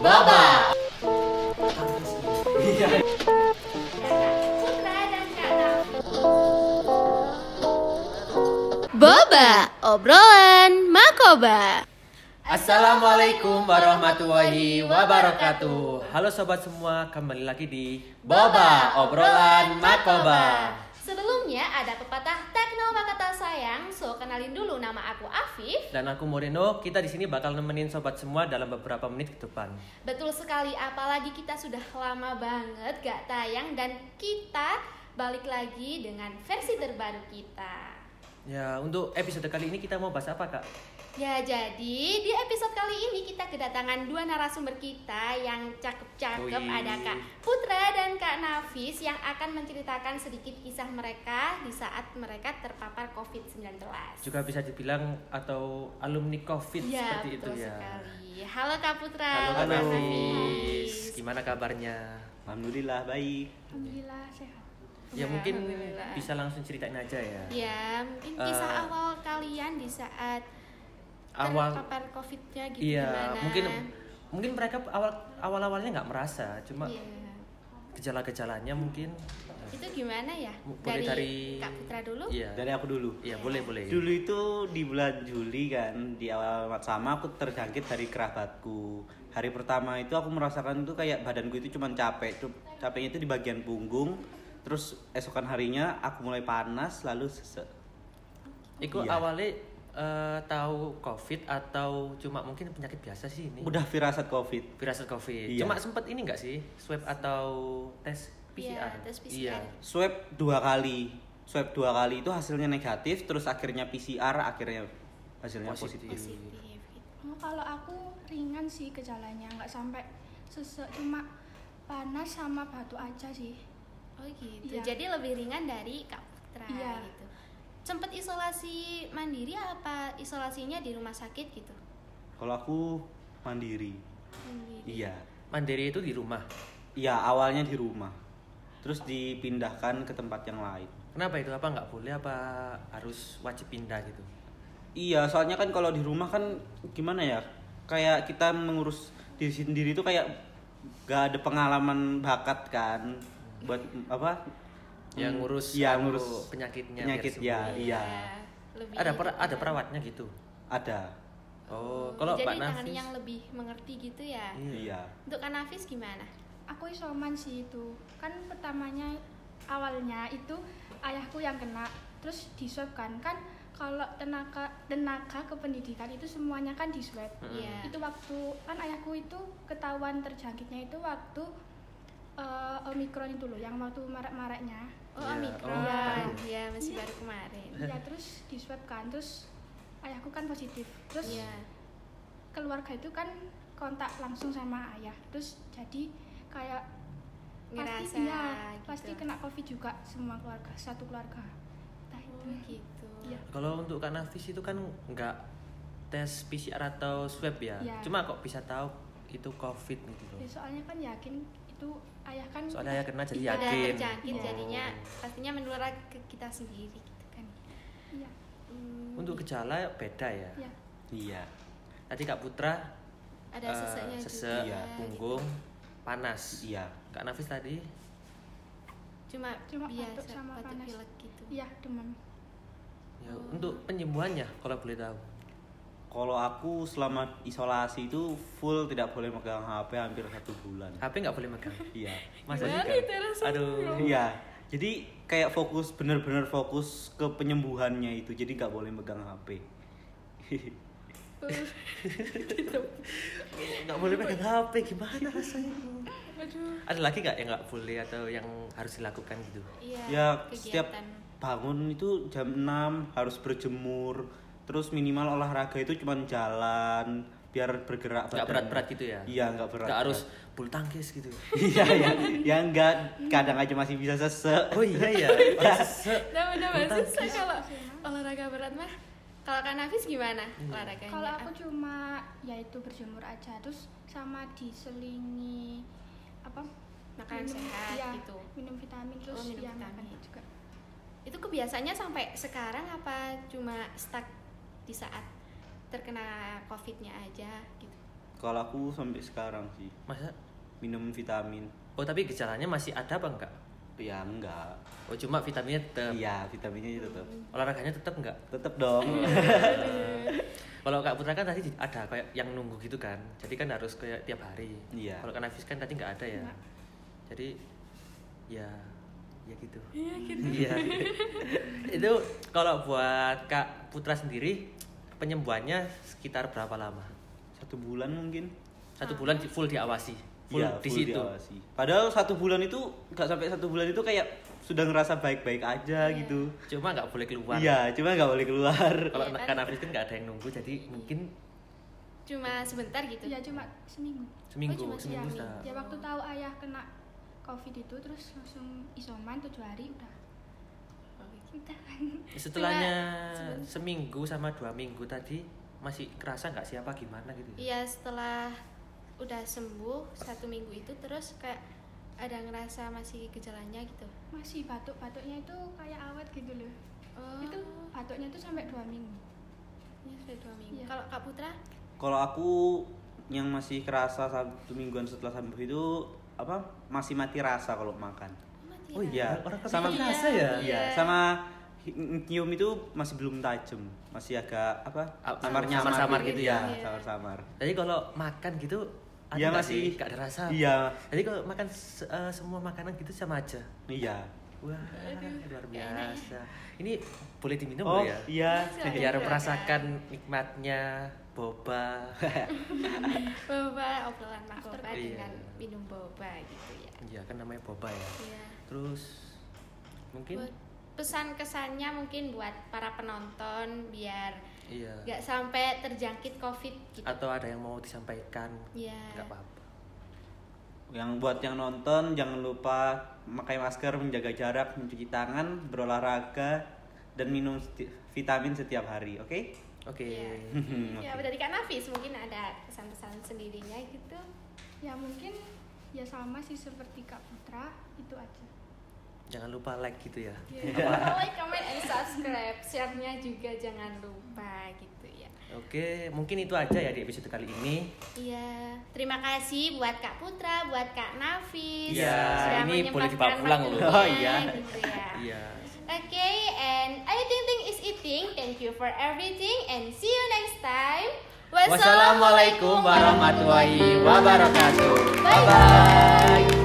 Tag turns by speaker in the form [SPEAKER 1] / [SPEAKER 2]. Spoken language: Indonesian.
[SPEAKER 1] Boba.
[SPEAKER 2] Iya.
[SPEAKER 1] Boba, obrolan Makoba.
[SPEAKER 2] Assalamualaikum warahmatullahi wabarakatuh. Halo sobat semua, kembali lagi di Boba Obrolan Makoba.
[SPEAKER 1] Sebelumnya ada pepatah Tekno Makata Sayang, so kenalin dulu nama aku Afif.
[SPEAKER 2] Dan aku Moreno, kita di sini bakal nemenin sobat semua dalam beberapa menit ke depan.
[SPEAKER 1] Betul sekali, apalagi kita sudah lama banget gak tayang dan kita balik lagi dengan versi terbaru kita.
[SPEAKER 2] Ya, untuk episode kali ini kita mau bahas apa, Kak?
[SPEAKER 1] Ya, jadi di episode kali ini kita kedatangan dua narasumber kita yang cakep-cakep
[SPEAKER 2] Wih.
[SPEAKER 1] ada Kak Putra dan Kak Nafis yang akan menceritakan sedikit kisah mereka di saat mereka terpapar COVID-19.
[SPEAKER 2] Juga bisa dibilang atau alumni Covid
[SPEAKER 1] ya,
[SPEAKER 2] seperti itu
[SPEAKER 1] betul
[SPEAKER 2] ya.
[SPEAKER 1] sekali. Halo Kak Putra,
[SPEAKER 2] Halo Kak
[SPEAKER 1] Kak
[SPEAKER 2] Nafis, gimana kabarnya?
[SPEAKER 3] Alhamdulillah baik.
[SPEAKER 4] Alhamdulillah sehat.
[SPEAKER 2] Ya
[SPEAKER 1] Ya,
[SPEAKER 2] mungkin
[SPEAKER 1] Alhamdulillah.
[SPEAKER 2] bisa langsung ceritain aja ya.
[SPEAKER 1] Ya, mungkin kisah
[SPEAKER 2] Eh,
[SPEAKER 1] awal kalian di saat
[SPEAKER 2] Awal
[SPEAKER 1] terpapar COVID-nya gitu
[SPEAKER 2] Iya,
[SPEAKER 1] gimana?
[SPEAKER 2] mungkin mungkin mereka awal awal awalnya nggak merasa, cuma
[SPEAKER 1] Iya.
[SPEAKER 2] gejala-gejalanya mungkin
[SPEAKER 1] Itu gimana ya?
[SPEAKER 2] M- boleh dari,
[SPEAKER 1] Kak Putra dulu?
[SPEAKER 2] Iya,
[SPEAKER 3] Dari aku dulu.
[SPEAKER 2] iya boleh boleh.
[SPEAKER 3] Dulu itu di bulan Juli kan di awal sama aku terjangkit dari kerabatku. Hari pertama itu aku merasakan itu kayak badanku itu cuman capek, Cuk- capeknya itu di bagian punggung. Terus esokan harinya aku mulai panas lalu sesek.
[SPEAKER 2] Iku
[SPEAKER 3] Iya.
[SPEAKER 2] awalnya eh, tahu COVID atau cuma mungkin penyakit biasa sih ini?
[SPEAKER 3] Udah firasat Covid.
[SPEAKER 2] Virasat COVID.
[SPEAKER 3] Iya.
[SPEAKER 2] Cuma sempet ini nggak sih swab atau tes
[SPEAKER 1] Iya,
[SPEAKER 2] PCR?
[SPEAKER 1] tes PCR.
[SPEAKER 3] Swab dua kali. Swab dua kali itu hasilnya negatif terus akhirnya PCR akhirnya hasilnya
[SPEAKER 2] Positif.
[SPEAKER 3] positif.
[SPEAKER 1] Positif gitu.
[SPEAKER 4] Oh, kalau aku ringan sih gejalanya, nggak sampai sesek, cuma panas sama batuk aja sih.
[SPEAKER 1] Oh gitu.
[SPEAKER 4] Iya.
[SPEAKER 1] Jadi lebih ringan dari Kak Putra
[SPEAKER 4] Iya.
[SPEAKER 1] gitu. Sempet isolasi mandiri apa isolasinya di rumah sakit gitu?
[SPEAKER 3] Kalau aku mandiri.
[SPEAKER 1] Mandiri.
[SPEAKER 3] Iya.
[SPEAKER 2] Mandiri itu di rumah.
[SPEAKER 3] Iya, awalnya di rumah. Terus dipindahkan ke tempat yang lain.
[SPEAKER 2] Kenapa itu? Apa nggak boleh? Apa harus wajib pindah gitu?
[SPEAKER 3] Iya, soalnya kan kalau di rumah kan gimana ya? Kayak kita mengurus diri sendiri itu kayak gak ada pengalaman bakat kan buat mm, apa?
[SPEAKER 2] Yang
[SPEAKER 3] Mm,
[SPEAKER 2] ngurus,
[SPEAKER 3] Iya,
[SPEAKER 2] anu,
[SPEAKER 3] ngurus
[SPEAKER 2] penyakitnya. biar
[SPEAKER 3] penyakit
[SPEAKER 2] sembuh.
[SPEAKER 3] ya, iya.
[SPEAKER 1] Lebih
[SPEAKER 2] Ada per-
[SPEAKER 1] gitu
[SPEAKER 2] ada
[SPEAKER 1] kan.
[SPEAKER 2] perawatnya gitu.
[SPEAKER 3] Ada.
[SPEAKER 2] Oh, kalau
[SPEAKER 1] Jadi
[SPEAKER 2] Mbak
[SPEAKER 1] ditangani
[SPEAKER 2] Nafis.
[SPEAKER 1] yang lebih mengerti gitu ya.
[SPEAKER 3] Iya.
[SPEAKER 1] Untuk Kak Nafis gimana?
[SPEAKER 4] Aku isoman sih itu. Kan pertamanya awalnya itu ayahku yang kena, terus di swab kan. Kan kalau tenaga tenaga kependidikan itu semuanya kan di swab.
[SPEAKER 2] Mm-mm.
[SPEAKER 1] Iya.
[SPEAKER 4] Itu waktu kan ayahku itu ketahuan terjangkitnya itu waktu eh, Omikron itu loh, yang waktu marak-maraknya.
[SPEAKER 1] Oh,
[SPEAKER 2] Iya,
[SPEAKER 1] Omikron.
[SPEAKER 2] oh, Iya. baru.
[SPEAKER 1] ya, masih baru kemarin.
[SPEAKER 4] ya terus di swab kan terus ayahku kan positif terus
[SPEAKER 1] Iya.
[SPEAKER 4] keluarga itu kan kontak langsung sama ayah terus jadi kayak
[SPEAKER 1] Ngerasa
[SPEAKER 4] pasti iya,
[SPEAKER 1] gitu.
[SPEAKER 4] pasti kena covid juga semua keluarga satu keluarga entah itu
[SPEAKER 1] Oh, gitu.
[SPEAKER 4] Iya.
[SPEAKER 2] Kalau untuk Kak Nafis itu kan nggak tes PCR atau swab ya.
[SPEAKER 4] Iya.
[SPEAKER 2] Cuma kok bisa tahu itu COVID gitu loh.
[SPEAKER 4] Ya, soalnya kan yakin itu ayah kan
[SPEAKER 2] Soalnya ya kena jadi
[SPEAKER 1] Udah
[SPEAKER 2] yakin.
[SPEAKER 1] terjangkit
[SPEAKER 4] Iya.
[SPEAKER 2] Oh.
[SPEAKER 1] jadinya pastinya menular ke kita sendiri gitu kan.
[SPEAKER 4] iya
[SPEAKER 1] Hmm,
[SPEAKER 2] Untuk gejala beda ya.
[SPEAKER 4] iya
[SPEAKER 3] Iya.
[SPEAKER 2] Tadi Kak Putra
[SPEAKER 1] ada
[SPEAKER 2] eh,
[SPEAKER 1] seseknya
[SPEAKER 2] sesek,
[SPEAKER 1] juga,
[SPEAKER 3] Iya,
[SPEAKER 2] punggung, panas.
[SPEAKER 3] Iya.
[SPEAKER 2] Kak Nafis tadi
[SPEAKER 1] cuma
[SPEAKER 4] Cuma
[SPEAKER 1] biasa
[SPEAKER 4] batuk sama
[SPEAKER 1] batuk
[SPEAKER 4] panas.
[SPEAKER 1] pilek gitu
[SPEAKER 4] iya demam
[SPEAKER 2] ya, untuk penyembuhannya kalau boleh tahu.
[SPEAKER 3] Kalau aku selama isolasi itu full tidak boleh megang HP hampir satu bulan.
[SPEAKER 2] HP nggak boleh megang.
[SPEAKER 3] Iya.
[SPEAKER 2] Masa
[SPEAKER 1] Gimana
[SPEAKER 2] juga?
[SPEAKER 1] itu rasanya?
[SPEAKER 2] Aduh.
[SPEAKER 3] Iya. Jadi kayak fokus bener-bener fokus ke penyembuhannya itu. Jadi nggak boleh megang HP.
[SPEAKER 2] Nggak boleh megang HP gimana rasanya? Ada lagi nggak yang nggak boleh atau yang harus dilakukan gitu?
[SPEAKER 1] iya
[SPEAKER 3] ya setiap
[SPEAKER 1] kegiatan
[SPEAKER 3] bangun itu jam 6 harus berjemur. Terus minimal olahraga itu cuman jalan biar bergerak
[SPEAKER 2] Nggak
[SPEAKER 3] badan.
[SPEAKER 2] berat-berat gitu ya?
[SPEAKER 3] Iya, nggak berat.
[SPEAKER 2] Nggak harus bulu tangkis gitu.
[SPEAKER 3] Iya, ya. Ya enggak kadang aja masih bisa sesek.
[SPEAKER 2] Oh iya ya. Orang sesek.
[SPEAKER 1] nah udah
[SPEAKER 2] Tentang
[SPEAKER 1] bagus saya kalau olahraga berat mah kalau kan Nafis gimana
[SPEAKER 3] Iya.
[SPEAKER 1] olahraganya Ah,
[SPEAKER 4] kalau aku cuma yaitu berjemur aja terus sama diselingi apa
[SPEAKER 1] Makanan
[SPEAKER 4] minum-
[SPEAKER 1] sehat
[SPEAKER 4] iya,
[SPEAKER 1] gitu.
[SPEAKER 4] minum vitamin terus
[SPEAKER 1] minum
[SPEAKER 4] ya makan
[SPEAKER 1] vitamin.
[SPEAKER 4] juga
[SPEAKER 1] itu kebiasaannya sampai sekarang apa cuma stuck di saat terkena covidnya aja gitu
[SPEAKER 3] Kalau aku sampai sekarang sih
[SPEAKER 2] Masa?
[SPEAKER 3] minum vitamin.
[SPEAKER 2] Oh tapi gejalanya masih ada apa enggak?
[SPEAKER 3] Ya enggak.
[SPEAKER 2] Oh cuma vitaminnya tetap.
[SPEAKER 3] Iya, vitaminnya itu tetap.
[SPEAKER 2] Olahraganya tetap enggak?
[SPEAKER 3] Tetap dong.
[SPEAKER 2] Iya. Kalau Kak Putra kan tadi ada kayak yang nunggu gitu kan. Jadi kan harus kayak tiap hari.
[SPEAKER 3] Iya.
[SPEAKER 2] Kalau Kak Nafis kan tadi nggak ada ya.
[SPEAKER 4] Nggak.
[SPEAKER 2] Jadi ya ya gitu.
[SPEAKER 5] Iya gitu.
[SPEAKER 2] Iya. Itu kalau buat Kak Putra sendiri penyembuhannya sekitar berapa lama?
[SPEAKER 3] Satu bulan mungkin.
[SPEAKER 2] Satu bulan di- full diawasi. Full
[SPEAKER 3] Iya,
[SPEAKER 2] di
[SPEAKER 3] full
[SPEAKER 2] situ.
[SPEAKER 3] diawasi. Padahal satu bulan itu nggak sampai satu bulan itu kayak sudah ngerasa baik-baik aja
[SPEAKER 1] Iya.
[SPEAKER 3] gitu.
[SPEAKER 2] Cuma nggak boleh keluar.
[SPEAKER 3] Iya, cuma nggak boleh keluar.
[SPEAKER 2] Kalau
[SPEAKER 1] Iya,
[SPEAKER 2] Kak
[SPEAKER 1] kan?
[SPEAKER 2] Nafis kan nggak ada yang nunggu jadi mungkin
[SPEAKER 1] Cuma sebentar gitu.
[SPEAKER 4] ya cuma seminggu
[SPEAKER 2] seminggu,
[SPEAKER 1] cuma
[SPEAKER 2] seminggu
[SPEAKER 1] sehari.
[SPEAKER 2] sudah.
[SPEAKER 4] ya waktu tahu ayah kena covid itu terus langsung isoman tujuh hari udah udah
[SPEAKER 2] Setelahnya
[SPEAKER 1] Cuma-
[SPEAKER 2] seminggu sama dua minggu tadi masih kerasa nggak siapa gimana gitu? ya?
[SPEAKER 1] Iya setelah udah sembuh satu minggu itu terus kayak ada ngerasa masih gejalanya gitu.
[SPEAKER 4] masih batuk batuknya itu kayak awet gitu loh
[SPEAKER 1] Oh,
[SPEAKER 4] itu batuknya itu sampai dua minggu
[SPEAKER 1] ini sudah dua minggu.
[SPEAKER 4] Iya.
[SPEAKER 1] Kalau Kak Putra?
[SPEAKER 3] Kalau aku yang masih kerasa satu mingguan setelah sembuh itu apa masih mati rasa kalau makan.
[SPEAKER 1] mati
[SPEAKER 2] Oh
[SPEAKER 1] ya?
[SPEAKER 2] iya,
[SPEAKER 3] Iya.
[SPEAKER 2] orang
[SPEAKER 3] Sama-
[SPEAKER 2] sama kerasa ya.
[SPEAKER 1] Iya.
[SPEAKER 3] Iya, sama hi- nyium itu masih belum tajam, masih agak apa?
[SPEAKER 2] Ah,
[SPEAKER 3] Samar-nyamar
[SPEAKER 2] samar-samar gitu ya.
[SPEAKER 1] Iya.
[SPEAKER 3] samar-samar.
[SPEAKER 2] Jadi kalau makan gitu ada
[SPEAKER 3] Iya,
[SPEAKER 2] nggak
[SPEAKER 3] masih-
[SPEAKER 2] sih? nggak ada rasa.
[SPEAKER 3] Iya,
[SPEAKER 2] Jadi kalau makan se- eh, semua makanan gitu sama aja.
[SPEAKER 3] iya.
[SPEAKER 2] Wah, luar
[SPEAKER 1] nggak enak
[SPEAKER 2] biasa. Ini boleh diminum
[SPEAKER 3] Oh,
[SPEAKER 2] nggak ya?
[SPEAKER 3] iya.
[SPEAKER 1] Bisa.
[SPEAKER 2] Biar
[SPEAKER 1] Iya.
[SPEAKER 2] merasakan nikmatnya boba.
[SPEAKER 1] Boba, obrolan narkoba
[SPEAKER 2] After-
[SPEAKER 1] dengan
[SPEAKER 2] Iya.
[SPEAKER 1] minum boba gitu ya.
[SPEAKER 2] Iya kan namanya boba ya.
[SPEAKER 1] Iya.
[SPEAKER 2] Terus mungkin
[SPEAKER 1] Buat pesan kesannya mungkin buat para penonton biar
[SPEAKER 2] iya.
[SPEAKER 1] nggak sampai terjangkit covid gitu.
[SPEAKER 2] Atau ada yang mau disampaikan?
[SPEAKER 1] Iya.
[SPEAKER 2] Nggak apa-apa.
[SPEAKER 3] Yang buat yang nonton jangan lupa pakai masker, menjaga jarak, mencuci tangan, berolahraga dan minum seti- vitamin setiap hari, oke?
[SPEAKER 2] Oke.
[SPEAKER 1] Iya.
[SPEAKER 3] Hmm,
[SPEAKER 1] Ya,
[SPEAKER 3] oke.
[SPEAKER 1] dari Kak Nafis mungkin ada pesan-pesan sendirinya gitu.
[SPEAKER 4] ya mungkin ya sama sih seperti kak putra itu aja
[SPEAKER 2] Jangan lupa like gitu ya.
[SPEAKER 1] like, comment, and subscribe. Share-nya juga jangan lupa gitu ya.
[SPEAKER 2] Oke, mungkin itu aja ya di episode kali ini.
[SPEAKER 1] Iya, terima kasih buat Kak Putra, buat Kak Nafis.
[SPEAKER 2] Iya,
[SPEAKER 1] sudah
[SPEAKER 2] ini
[SPEAKER 1] menyempatkan
[SPEAKER 2] boleh dibawa pulang loh.
[SPEAKER 1] waktunya,
[SPEAKER 3] Oh, iya.
[SPEAKER 1] Gitu ya.
[SPEAKER 2] Iya.
[SPEAKER 1] Oke, and I think think is eating. Thank you for everything and see you next time.
[SPEAKER 2] Wassalamualaikum warahmatullahi wabarakatuh.
[SPEAKER 1] Bye bye.